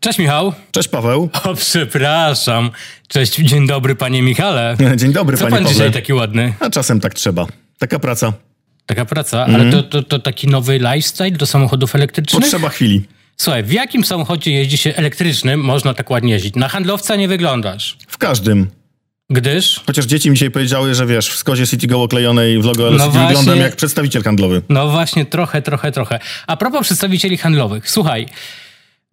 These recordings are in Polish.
Cześć Michał. Cześć Paweł. O, przepraszam. Cześć, dzień dobry panie Michale. Dzień dobry, Co panie pan Pawle. dzisiaj tak- taki ładny? A czasem tak trzeba. Taka praca. Taka praca, Mhm. ale to, to, to taki nowy lifestyle do samochodów elektrycznych? Potrzeba chwili. Słuchaj, w jakim samochodzie jeździ się elektrycznym można tak ładnie jeździć? Na handlowca nie wyglądasz, W każdym. gdyż... Chociaż dzieci mi dzisiaj powiedziały, że wiesz, w Skodzie City Go oklejonej w logo LCD No właśnie. wyglądam jak przedstawiciel handlowy. No właśnie, trochę, trochę, trochę. A propos przedstawicieli handlowych, słuchaj,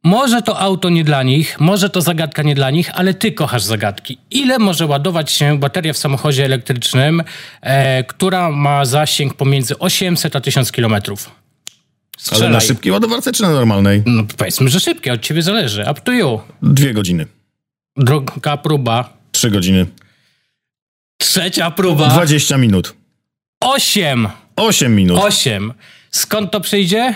może to auto nie dla nich, może to zagadka nie dla nich, ale ty kochasz zagadki. Ile może ładować się bateria w samochodzie elektrycznym, e, która ma zasięg pomiędzy 800 a 1000 kilometrów? Ale Strzelaj. na szybkiej ładowarce czy na normalnej? No powiedzmy, że szybkie, od ciebie zależy. Up to you. Dwie godziny. Droga próba. Trzy godziny. Trzecia próba. Dwadzieścia minut. Osiem. Osiem minut. Osiem. Skąd to przyjdzie?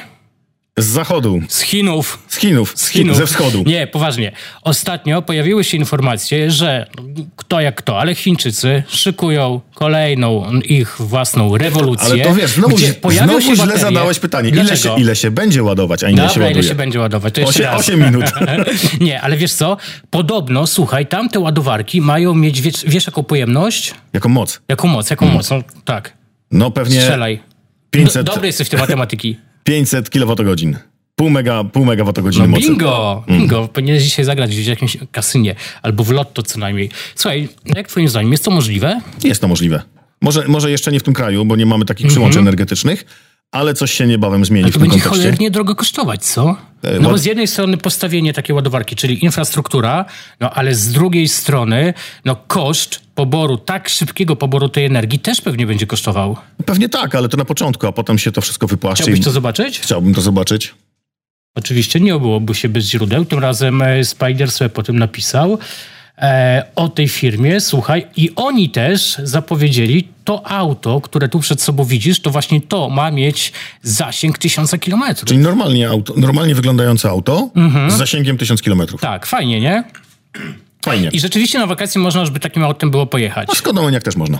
Z zachodu. Z Chinów. Z Chinów. Z Chinów. Ze wschodu. Nie, poważnie. Ostatnio pojawiły się informacje, że kto jak kto, ale Chińczycy szykują kolejną ich własną rewolucję. Ale to wiesz, znowu, gdzie źle- pojawią znowu się źle baterie. zadałeś pytanie. Ile Dlaczego? się, ile się będzie ładować, a ile się Dobra, ładuje? ile się będzie ładować? To jeszcze Osiem- raz. osiem minut. Nie, ale wiesz co? Podobno, słuchaj, tamte ładowarki mają mieć, wiesz, wiesz jaką pojemność? Jaką moc? Jaką moc, jaką Hmm. moc? No, tak, No pewnie strzelaj. No, Do, 500, dobry jesteś w tej matematyki. 500 kWh. Pół, mega, pół megawattogodziny No mocy. Bingo! Bingo! Mm. Powinieneś dzisiaj zagrać gdzieś w jakimś kasynie albo w lotto co najmniej. Słuchaj, no jak twoim zdaniem, jest to możliwe? Jest to możliwe. Może, może jeszcze nie w tym kraju, bo nie mamy takich przyłączy energetycznych, ale coś się niebawem zmieni Mhm. To w tym będzie kontekście. E, cholernie drogo kosztować, co? No bo ład- z jednej strony postawienie takiej ładowarki, czyli infrastruktura, no ale z drugiej strony, no koszt poboru, tak szybkiego poboru tej energii też pewnie będzie kosztował. Pewnie tak, ale to na początku, a potem się to wszystko wypłaszczy. Chciałbyś i- to zobaczyć? Chciałbym to zobaczyć. Oczywiście nie obyłoby się bez źródeł. Tym razem e, Spider sobie potem napisał e, o tej firmie, słuchaj, i oni też zapowiedzieli to auto, które tu przed sobą widzisz, to właśnie to ma mieć zasięg tysiąca kilometrów. Czyli normalnie, auto, normalnie wyglądające auto z zasięgiem 1000 km. Mhm. Tak, fajnie, nie? Fajnie. I rzeczywiście na wakacje można, żeby takim autem było pojechać. A skąd jak też można?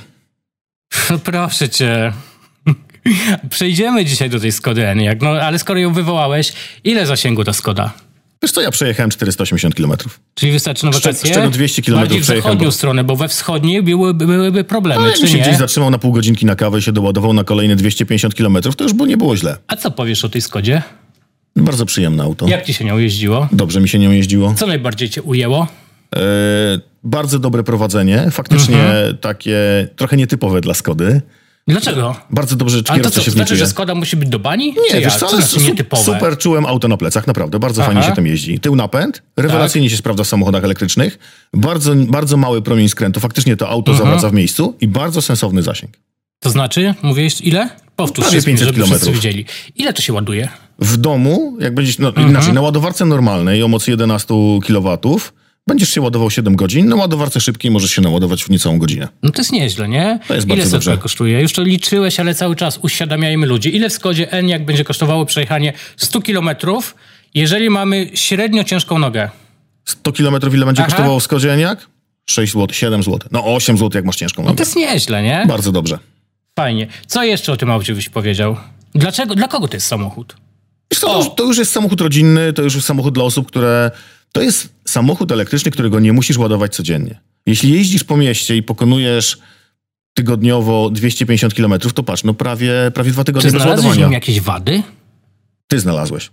No proszę cię. Przejdziemy dzisiaj do tej Skody Enyaq, no ale skoro ją wywołałeś, ile zasięgu ta Skoda? Wiesz co, ja przejechałem 480 km. Czyli wystarczy na Szcz- wakacje? szczerze 200 kilometrów Bardziej w przejechałem, zachodnią bo- stronę, bo we wschodniej byłyby, byłyby problemy, No, jakbym czy się gdzieś nie? zatrzymał na pół godzinki na kawę i się doładował na kolejne 250 km, to już by nie było źle. A co powiesz o tej Skodzie? Bardzo przyjemne auto. Jak ci się nią jeździło? Dobrze mi się nią jeździło. Co najbardziej cię ujęło? E, bardzo dobre prowadzenie, faktycznie Mhm. takie trochę nietypowe dla Skody. Dlaczego? Bardzo dobrze A to kierowca co, się to w nim znaczy, czuje. że Skoda musi być do bani? Nie, czy wiesz jak? co, to ale znaczy su- nietypowe? super czułem auto na plecach, naprawdę, bardzo Aha. Tak. fajnie się tym jeździ. Tył napęd, rewelacyjnie się sprawdza w samochodach elektrycznych, bardzo, bardzo mały promień skrętu, faktycznie to auto Mhm. zawraca w miejscu i bardzo sensowny zasięg. To znaczy, mówiłeś ile? Powtórz Prawie wszystkim, 500 żeby wszyscy kilometrów. wiedzieli. Ile to się ładuje? W domu, jak będziesz, no Mhm. inaczej, na ładowarce normalnej o mocy 11 kW będziesz się ładował 7 godzin, na ładowarce szybkiej możesz się naładować w niecałą godzinę. No to jest nieźle, nie? To jest Ile bardzo to dobrze. kosztuje? Już to liczyłeś, ale cały czas uświadamiajmy ludzi. Ile w Skodzie N jak będzie kosztowało przejechanie 100 kilometrów, jeżeli mamy średnio ciężką nogę? 100 km ile będzie Aha. kosztowało w Skodzie Enyaq? 6 zł, 7 zł, no 8 zł jak masz ciężką No To nogę. jest nieźle, nie? Bardzo dobrze. Fajnie. Co jeszcze o tym aucie byś powiedział? Dlaczego, dla kogo to jest samochód? Wiesz co, to, już, to już jest samochód rodzinny, to już jest samochód dla osób, które. To jest samochód elektryczny, którego nie musisz ładować codziennie. Jeśli jeździsz po mieście i pokonujesz tygodniowo 250 km, to patrz, no prawie, prawie dwa Czy tygodnie bez znalazłeś w nim ładowania. jakieś wady? Ty znalazłeś.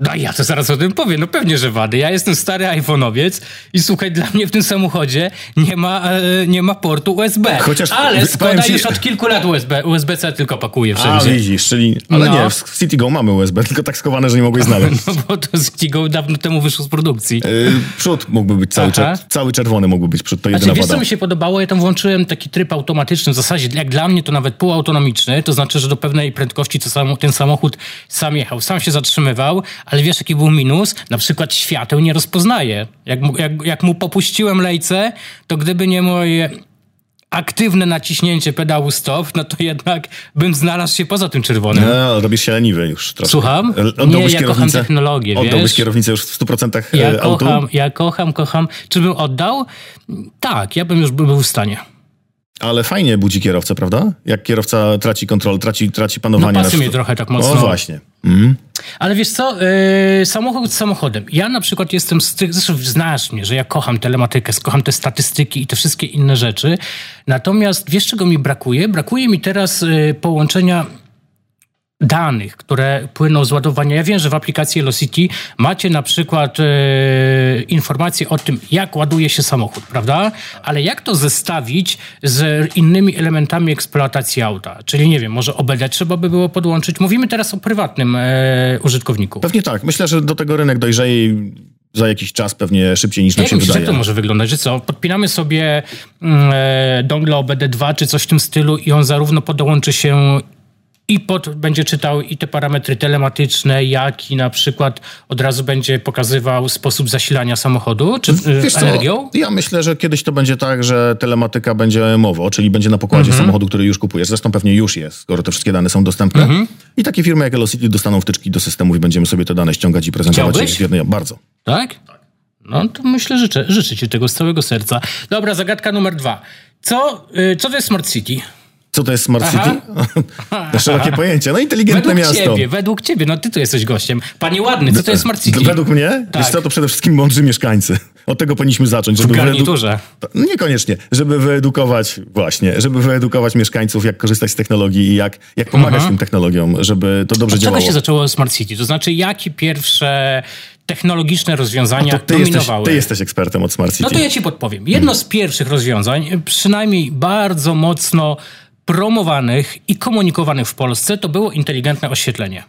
No ja to zaraz o tym powiem, no pewnie, że wady. Ja jestem stary iPhone'owiec i słuchaj, dla mnie w tym samochodzie nie ma, e, nie ma portu USB. Chociaż- Ale powiem Skoda ci- już od kilku lat USB, USB-C tylko pakuje A, wszędzie. widzisz, czyli... Ale No. nie, w CityGo mamy USB, tylko tak skowane, że nie mogłeś znaleźć. No bo to z Kigo dawno temu wyszło z produkcji. Yy, przód mógłby być cały, Aha. czer- cały czerwony, mógłby być przód, to Znaczy, jedyna wiesz, co wada. mi się podobało? Ja tam włączyłem taki tryb automatyczny, w zasadzie jak dla mnie to nawet półautonomiczny, to znaczy, że do pewnej prędkości to sam, ten samochód sam jechał, sam się zatrzymywał, ale wiesz, jaki był minus? Na przykład świateł nie rozpoznaje. Jak, mu- jak, jak mu popuściłem lejce, to gdyby nie moje aktywne naciśnięcie pedału stop, no to jednak bym znalazł się poza tym czerwonym. No, robisz się leniwy już trochę. Słucham? Nie, L- ja Oddałbyś kocham kierownicę, technologię, Oddałbyś wiesz? kierownicę już w 100% Ja e, autu? kocham, ja kocham, kocham. Czy bym oddał? Tak, ja bym już był w stanie. Ale fajnie budzi kierowcę, prawda? Jak kierowca traci kontrolę, traci, traci panowanie. No pasy nad- mnie trochę tak mocno. O właśnie. Mm. Ale wiesz co, yy, samochód samochodem. Ja na przykład jestem z tych, zresztą znasz mnie, że ja kocham telematykę, kocham te statystyki i te wszystkie inne rzeczy. Natomiast wiesz czego mi brakuje? Brakuje mi teraz yy, połączenia danych, które płyną z ładowania. Ja wiem, że w aplikacji Velocity macie na przykład e, informacje o tym, jak ładuje się samochód, prawda? Ale jak to zestawić z innymi elementami eksploatacji auta? Czyli nie wiem, może OBD trzeba by było podłączyć. Mówimy teraz o prywatnym e, użytkowniku. Pewnie tak. Myślę, że do tego rynek dojrzeje za jakiś czas pewnie szybciej niż nam Jak Tak się myślisz, wydaje. jak to może wyglądać? Że co, podpinamy sobie mm, e, dongle OBD2 czy coś w tym stylu i on zarówno podłączy się i pod, będzie czytał i te parametry telematyczne, jak i na przykład od razu będzie pokazywał sposób zasilania samochodu, czy Mm, Wiesz Wiesz co, y, energią? ja myślę, że kiedyś to będzie tak, że telematyka będzie MOWO, czyli będzie na pokładzie Mhm. samochodu, który już kupujesz. Zresztą pewnie już jest, skoro te wszystkie dane są dostępne. Mhm. I takie firmy jak Elocity dostaną wtyczki do systemów i będziemy sobie te dane ściągać i prezentować Chciałbyś? je w jednej. Bardzo. Tak? No to myślę, życzę, życzę ci tego z całego serca. Dobra, zagadka numer dwa. Co, y, co to jest Smart City? Co to jest Smart Aha. City? Szerokie pojęcie. No inteligentne Według miasto. ciebie, według ciebie, no ty tu jesteś gościem. Panie ładny, co to jest Smart City? Według mnie? Tak. Wiesz co, to przede wszystkim mądrzy mieszkańcy. Od tego powinniśmy zacząć. w Żeby wyedu- garniturze. To- Niekoniecznie, żeby wyedukować, właśnie, żeby wyedukować mieszkańców, jak korzystać z technologii i jak, jak pomagać tym technologiom, żeby to dobrze Od działało. czego się zaczęło Smart City? To znaczy, jakie pierwsze technologiczne rozwiązania No to ty, jesteś, dominowały? ty jesteś ekspertem od Smart City. No to ja ci podpowiem. Jedno z pierwszych rozwiązań, przynajmniej bardzo mocno promowanych i komunikowanych w Polsce, to było inteligentne oświetlenie.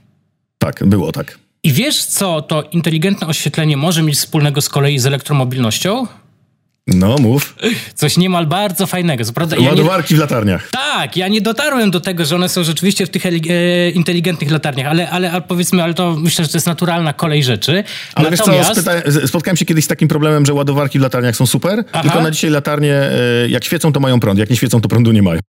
Tak, było tak. I wiesz, co to inteligentne oświetlenie może mieć wspólnego z kolei z elektromobilnością? No mów. Coś niemal bardzo fajnego. Co prawda, ja nie, Ładowarki w latarniach. Tak, ja nie dotarłem do tego, że one są rzeczywiście w tych eli- e, inteligentnych latarniach, ale, ale, ale powiedzmy, ale to myślę, że to jest naturalna kolej rzeczy. Ale wiesz Natomiast, co, spyta- z- spotkałem się kiedyś z takim problemem, że ładowarki w latarniach są super, Aha. tylko na dzisiaj latarnie e, jak świecą to mają prąd, jak nie świecą to prądu nie mają.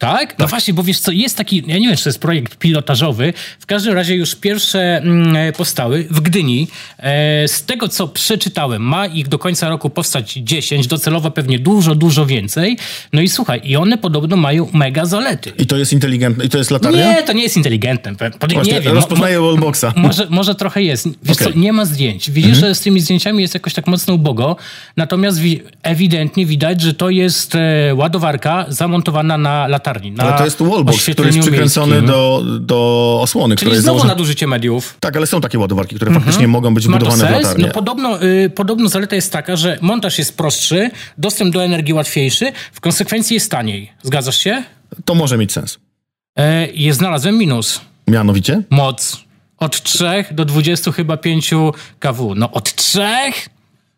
tak? No właśnie, bo wiesz co, jest taki, ja nie wiem, czy to jest projekt pilotażowy, w każdym razie już pierwsze mm, e, powstały w Gdyni. E, z tego, co przeczytałem, ma ich do końca roku powstać 10, docelowo pewnie dużo, dużo więcej. No i słuchaj, i one podobno mają mega zalety. I to jest inteligentne, i to jest latarnia? Nie, to nie jest inteligentne. pe- po- Właśnie, no, Nie no, wiem, no, mo- rozpoznaję wallboxa. Może, może trochę jest. Wiesz Okej. Mhm. co, nie ma zdjęć. Widzisz, że z tymi zdjęciami jest jakoś tak mocno ubogo, natomiast wi- ewidentnie widać, że to jest e, ładowarka zamontowana na latarni. Na Ale to jest wallbox, który jest oświetleniu przykręcony miejskim. do, do osłony, która no. Czyli jest znowu założona. nadużycie mediów. Tak, ale są takie ładowarki, które faktycznie mogą być Ma to wbudowane w sens? latarnie. No podobno, y, podobno zaleta jest taka, że montaż jest prostszy, dostęp do energii łatwiejszy, w konsekwencji jest taniej. Zgadzasz się? To może mieć sens. E, jest znalazłem minus. Mianowicie? Moc. Od 3 do 20 chyba 5 kW. No od 3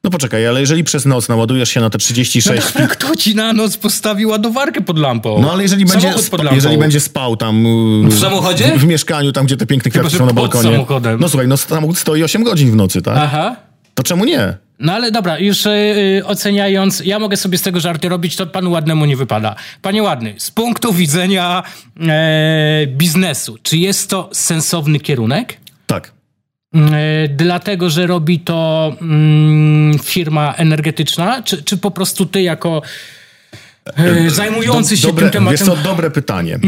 No poczekaj, ale jeżeli przez noc naładujesz się na No te 36... Dobra, kto Tak, ci na noc postawi ładowarkę pod lampą? No ale jeżeli będzie, Samochód pod sp- lampą. jeżeli będzie spał tam... yy, No W samochodzie? W, w mieszkaniu, tam gdzie te piękne kwiaty że są na pod balkonie. samochodem. No słuchaj, no samochód stoi 8 godzin w nocy, tak? Aha. To czemu nie? No ale dobra, już y, y, oceniając, ja mogę sobie z tego żarty robić, to panu ładnemu nie wypada. Panie ładny, z punktu widzenia e, biznesu, czy jest to sensowny kierunek? Tak. E, dlatego, że robi to mm, firma energetyczna, czy, czy po prostu ty jako e, zajmujący się dobre, tym tematem? Mhm. Jest to dobre pytanie. E,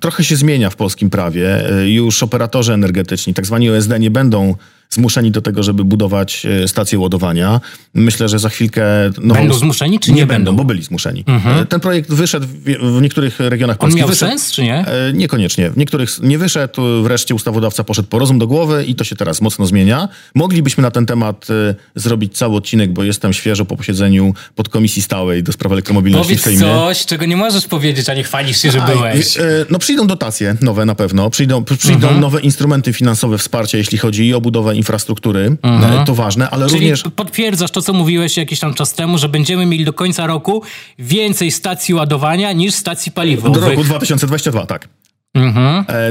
trochę się zmienia w polskim prawie. E, już operatorzy energetyczni, tak zwani OSD, nie będą zmuszeni do tego, żeby budować e, stacje ładowania. Myślę, że za chwilkę... No, Będą zmuszeni, czy nie, będą? Mhm. bo byli zmuszeni. E, Ten projekt wyszedł w, w niektórych regionach On Polski. miał wyszedł, sens, czy nie? E, Niekoniecznie. W niektórych s- nie wyszedł, e, wreszcie ustawodawca poszedł po rozum do głowy i to się teraz mocno zmienia. Moglibyśmy na ten temat e, zrobić cały odcinek, bo jestem świeżo po posiedzeniu podkomisji stałej do spraw elektromobilności w Powiedz Sejmie. coś, czego nie możesz powiedzieć, a nie chwalisz się, że Aj, byłeś. Mhm. e, e, No przyjdą dotacje nowe na pewno, przyjdą, p- przyjdą nowe instrumenty finansowe wsparcia, jeśli chodzi i o budowę infrastruktury, E, to ważne, ale Mhm. Czyli również... potwierdzasz to, co mówiłeś jakiś tam czas temu, że będziemy mieli do końca roku więcej stacji ładowania niż stacji Do paliwowych. roku 2022, tak. E, Czyli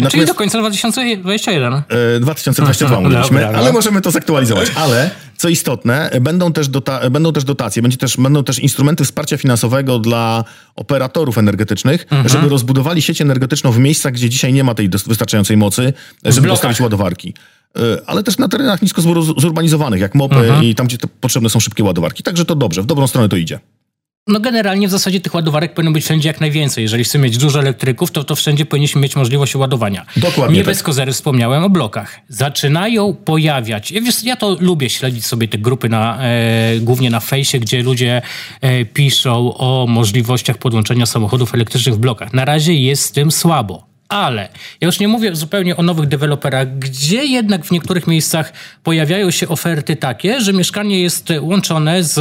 natomiast- do końca 2021. E, 2022 mówiliśmy, Dobra, no. ale możemy to zaktualizować. Ale co istotne, e, będą też, dota- e, będą też dotacje, będzie też, będą też instrumenty wsparcia finansowego dla operatorów energetycznych, Mhm. żeby rozbudowali sieć energetyczną w miejscach, gdzie dzisiaj nie ma tej dos- wystarczającej mocy, e, żeby blokach. postawić ładowarki. E, Ale też na terenach nisko Mhm. zbur- zurbanizowanych, jak mopy i tam, gdzie to potrzebne są szybkie ładowarki. Także to dobrze, w dobrą stronę to idzie. No generalnie w zasadzie tych ładowarek powinno być wszędzie jak najwięcej. Jeżeli chcemy mieć dużo elektryków, to to wszędzie powinniśmy mieć możliwość ładowania. Dokładnie Nie tak. bez kozery wspomniałem o blokach. Zaczynają pojawiać, ja wiesz, ja to lubię śledzić sobie te grupy na, e, głównie na fejsie, gdzie ludzie e, piszą o możliwościach podłączenia samochodów elektrycznych w blokach. Na razie jest z tym słabo. Ale ja już nie mówię zupełnie o nowych deweloperach, gdzie jednak w niektórych miejscach pojawiają się oferty takie, że mieszkanie jest e, łączone z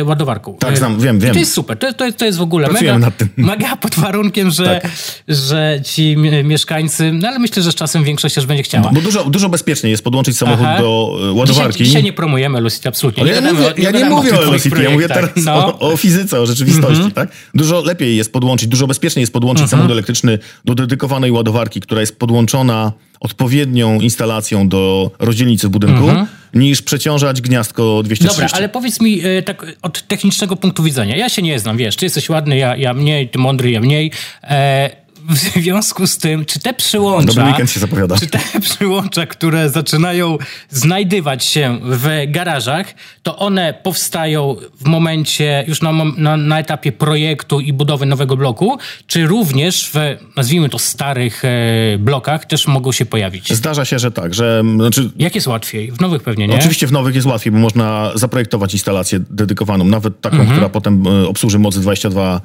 e, ładowarką. Tak, E, znam, wiem, i wiem. To jest super. To, to, jest- to jest w ogóle Pracujemy mega, nad tym. Tak. mega pod warunkiem, że, że ci mie- mieszkańcy, no ale myślę, że z czasem większość też będzie chciała. Bo dużo, dużo bezpieczniej jest podłączyć samochód Aha. do e, Dzisiaj, ładowarki. dzisiaj nie promujemy Lucid, absolutnie. Ale ja nie gadamy mówię, o- ja nie gadamy mówię tych o twoich LCP, ja mówię teraz projektach. No. o, o fizyce, o rzeczywistości, tak? Dużo lepiej jest podłączyć, dużo bezpieczniej jest podłączyć samochód elektryczny do dedykowanej ładowarki, która jest podłączona odpowiednią instalacją do rozdzielnicy w budynku, niż przeciążać gniazdko 230. Dobra, ale powiedz mi e, tak od technicznego punktu widzenia. Ja się nie znam, wiesz, ty jesteś ładny, ja, ja mniej, ty mądry, ja mniej. E, w związku z tym, czy te przyłącza... Dobry weekend się zapowiada. Czy te przyłącza, które zaczynają znajdywać się w garażach, to one powstają w momencie, już na, mom- na, na etapie projektu i budowy nowego bloku, czy również w, nazwijmy to, starych e, blokach też mogą się pojawić? Zdarza się, że tak, że m, znaczy, Jak jest łatwiej? W nowych pewnie, nie? Oczywiście w nowych jest łatwiej, bo można zaprojektować instalację dedykowaną, nawet taką, Mhm. która potem e, obsłuży mocy 22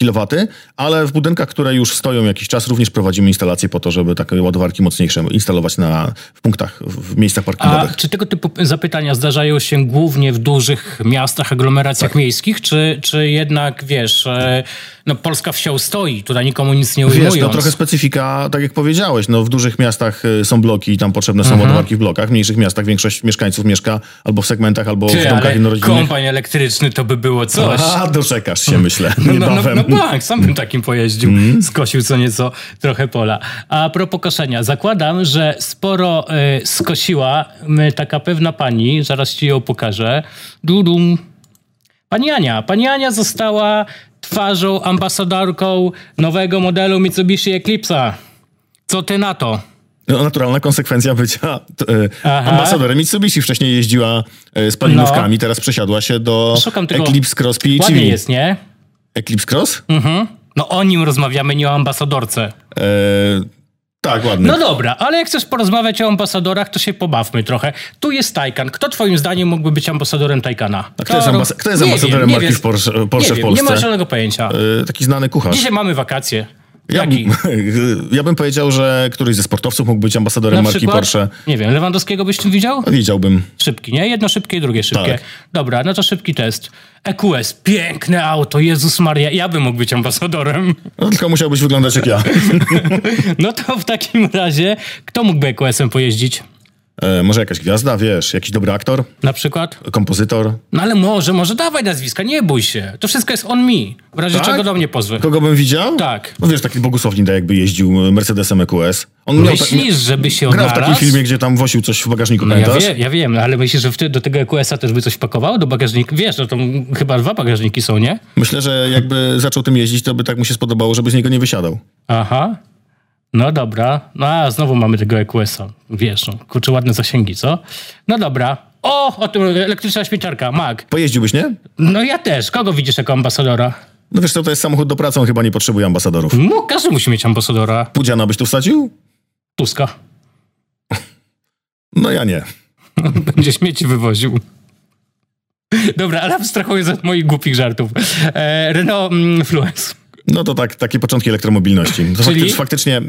kW, ale w budynkach, które już stoją jakiś czas, również prowadzimy instalacje po to, żeby takie ładowarki mocniejsze instalować na, w punktach, w w miejscach A parkingowych. czy tego typu zapytania zdarzają się głównie w dużych miastach, aglomeracjach Tak. miejskich, czy, czy jednak, wiesz, e, no Polska wsią stoi, tutaj nikomu nic nie ujmując. Wiesz, no trochę specyfika, tak jak powiedziałeś, no w dużych miastach y, są bloki i tam potrzebne są Mhm. ładowarki w blokach, w mniejszych miastach większość mieszkańców mieszka albo w segmentach, albo w Ty, domkach ale jednorodzinnych. kompań elektryczny to by było coś. A, doczekasz się, myślę, No, no, no, niebawem. no tak, sam bym takim pojeździł, skosił co nieco trochę pola. A propos koszenia, zakładam, że sporo y, skosiła y, taka pewna pani, zaraz ci ją pokażę. Dudum. Pani Ania. Pani Ania została twarzą, ambasadorką nowego modelu Mitsubishi Eclipse'a. Co ty na to? No, naturalna konsekwencja bycia t, y, Aha. No. ambasadorem Mitsubishi. Wcześniej jeździła y, z palinówkami, teraz przesiadła się do Szukam tego. Eclipse Cross PHEV. Ładnie jest, nie? Eclipse Cross? Mhm. No o nim rozmawiamy, nie o ambasadorce. E, tak, ładny. No dobra, ale jak chcesz porozmawiać o ambasadorach, to się pobawmy trochę. Tu jest Taycan. Kto twoim zdaniem mógłby być ambasadorem Taycana? A kto jest, ambas- kto jest Nie ambasadorem wiem, nie marki wiem. w Porsche, Porsche nie w wiem, Polsce? Nie ma żadnego pojęcia. E, taki znany kucharz. Dzisiaj mamy wakacje. Ja, Jaki? bym- ja bym powiedział, że któryś ze sportowców mógł być ambasadorem marki Porsche. No, Nie wiem, Lewandowskiego byś tym widział? Wiedziałbym. Szybki, nie? Jedno szybkie i drugie szybkie. Tak. Dobra, no to szybki test. EQS, piękne auto, Jezus Maria, ja bym mógł być ambasadorem. No, tylko musiałbyś wyglądać jak ja. No to w takim razie, kto mógłby EQS-em pojeździć? E, może jakaś gwiazda, wiesz, jakiś dobry aktor, Na przykład? kompozytor. No ale może, może dawaj nazwiska, nie bój się. To wszystko jest on mi. W razie Tak? czego do mnie pozwy. Kogo bym widział? Tak. No wiesz, taki Bogusław Nida jakby jeździł e, Mercedesem EQS. No On miał ta- Myślisz, żeby się Grał w takim odnalazł? filmie, gdzie tam wosił coś w bagażniku, Ja, pamiętasz? wie, ja wiem, no ale myślisz, że wtedy do tego EQS-a też by coś pakowało do bagażnika? Wiesz, no to m- chyba dwa bagażniki są, nie? Myślę, że jakby zaczął tym jeździć, to by tak mu się spodobało, żeby z niego nie wysiadał. Aha. No dobra. No a znowu mamy tego EQS-a. Wiesz, no, kurczę, ładne zasięgi, co? No dobra. O, o tym elektryczna śmieciarka, Mac. Pojeździłbyś, nie? No ja też. Kogo widzisz jako ambasadora? No wiesz co, to jest samochód do pracy, on chyba nie potrzebuje ambasadorów. No, każdy musi mieć ambasadora. Pudziana byś tu wsadził? Tuska. No ja nie. będzie śmieci wywoził. Dobra, ale abstrahując od moich głupich żartów. E, Renault mm, Fluence. No to tak, takie początki elektromobilności. To Czyli? fakty- faktycznie, e, e,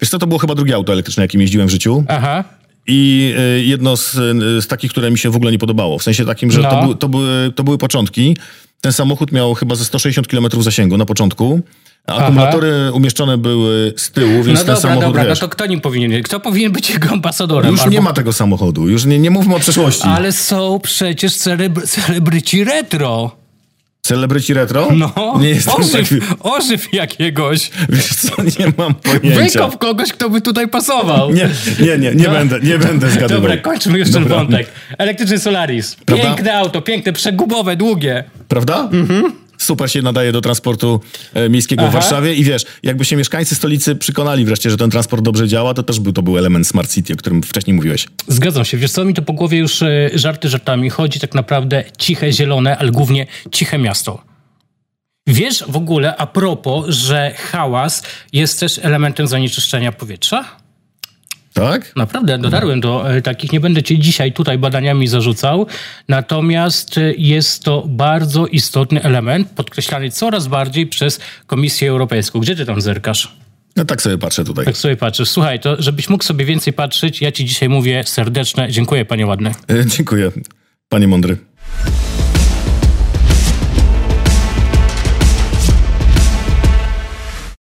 wiesz co, to było chyba drugie auto elektryczne, jakim jeździłem w życiu. Aha. I y, jedno z, y, z takich, które mi się w ogóle nie podobało. W sensie takim, że No. to, był, to, były, to były początki. Ten samochód miał chyba ze 160 km zasięgu na początku. Akumulatory umieszczone były z tyłu, więc No ten dobra, samochód dobra, no wiesz, to kto nim powinien Kto powinien być jego ambasadorem? już Albo- nie ma tego samochodu. Już nie, nie mówmy o przeszłości. Ale są przecież celebr- celebryci retro. Celebryci retro? No, Nie jestem ożyw, taki... ożyw jakiegoś. Wiesz co, nie mam pojęcia. Wykop kogoś, kto by tutaj pasował. Nie, nie, nie, nie będę, nie będę zgadywał. No. Dobra, kończmy jeszcze Dobra. wątek. Elektryczny Solaris. Prawda? Piękne auto, piękne, przegubowe, długie. Prawda? Super się nadaje do transportu e, miejskiego w Mhm. Aha. Warszawie i wiesz, jakby się mieszkańcy stolicy przekonali wreszcie, że ten transport dobrze działa, to też był, to był element Smart City, o którym wcześniej mówiłeś. Zgadzam się. Wiesz co, mi to po głowie już e, żarty żartami chodzi. Tak naprawdę ciche zielone, ale głównie ciche miasto. Wiesz w ogóle a propos, że hałas jest też elementem zanieczyszczenia powietrza? Tak? Naprawdę, dotarłem do e, takich. Nie będę cię dzisiaj tutaj badaniami zarzucał. Natomiast e, jest to bardzo istotny element, podkreślany coraz bardziej przez Komisję Europejską. Gdzie ty tam zerkasz? No tak sobie patrzę tutaj. Tak sobie patrzysz. Słuchaj, to żebyś mógł sobie więcej patrzeć, ja ci dzisiaj mówię serdeczne dziękuję, panie ładny. E, Dziękuję, panie mądry.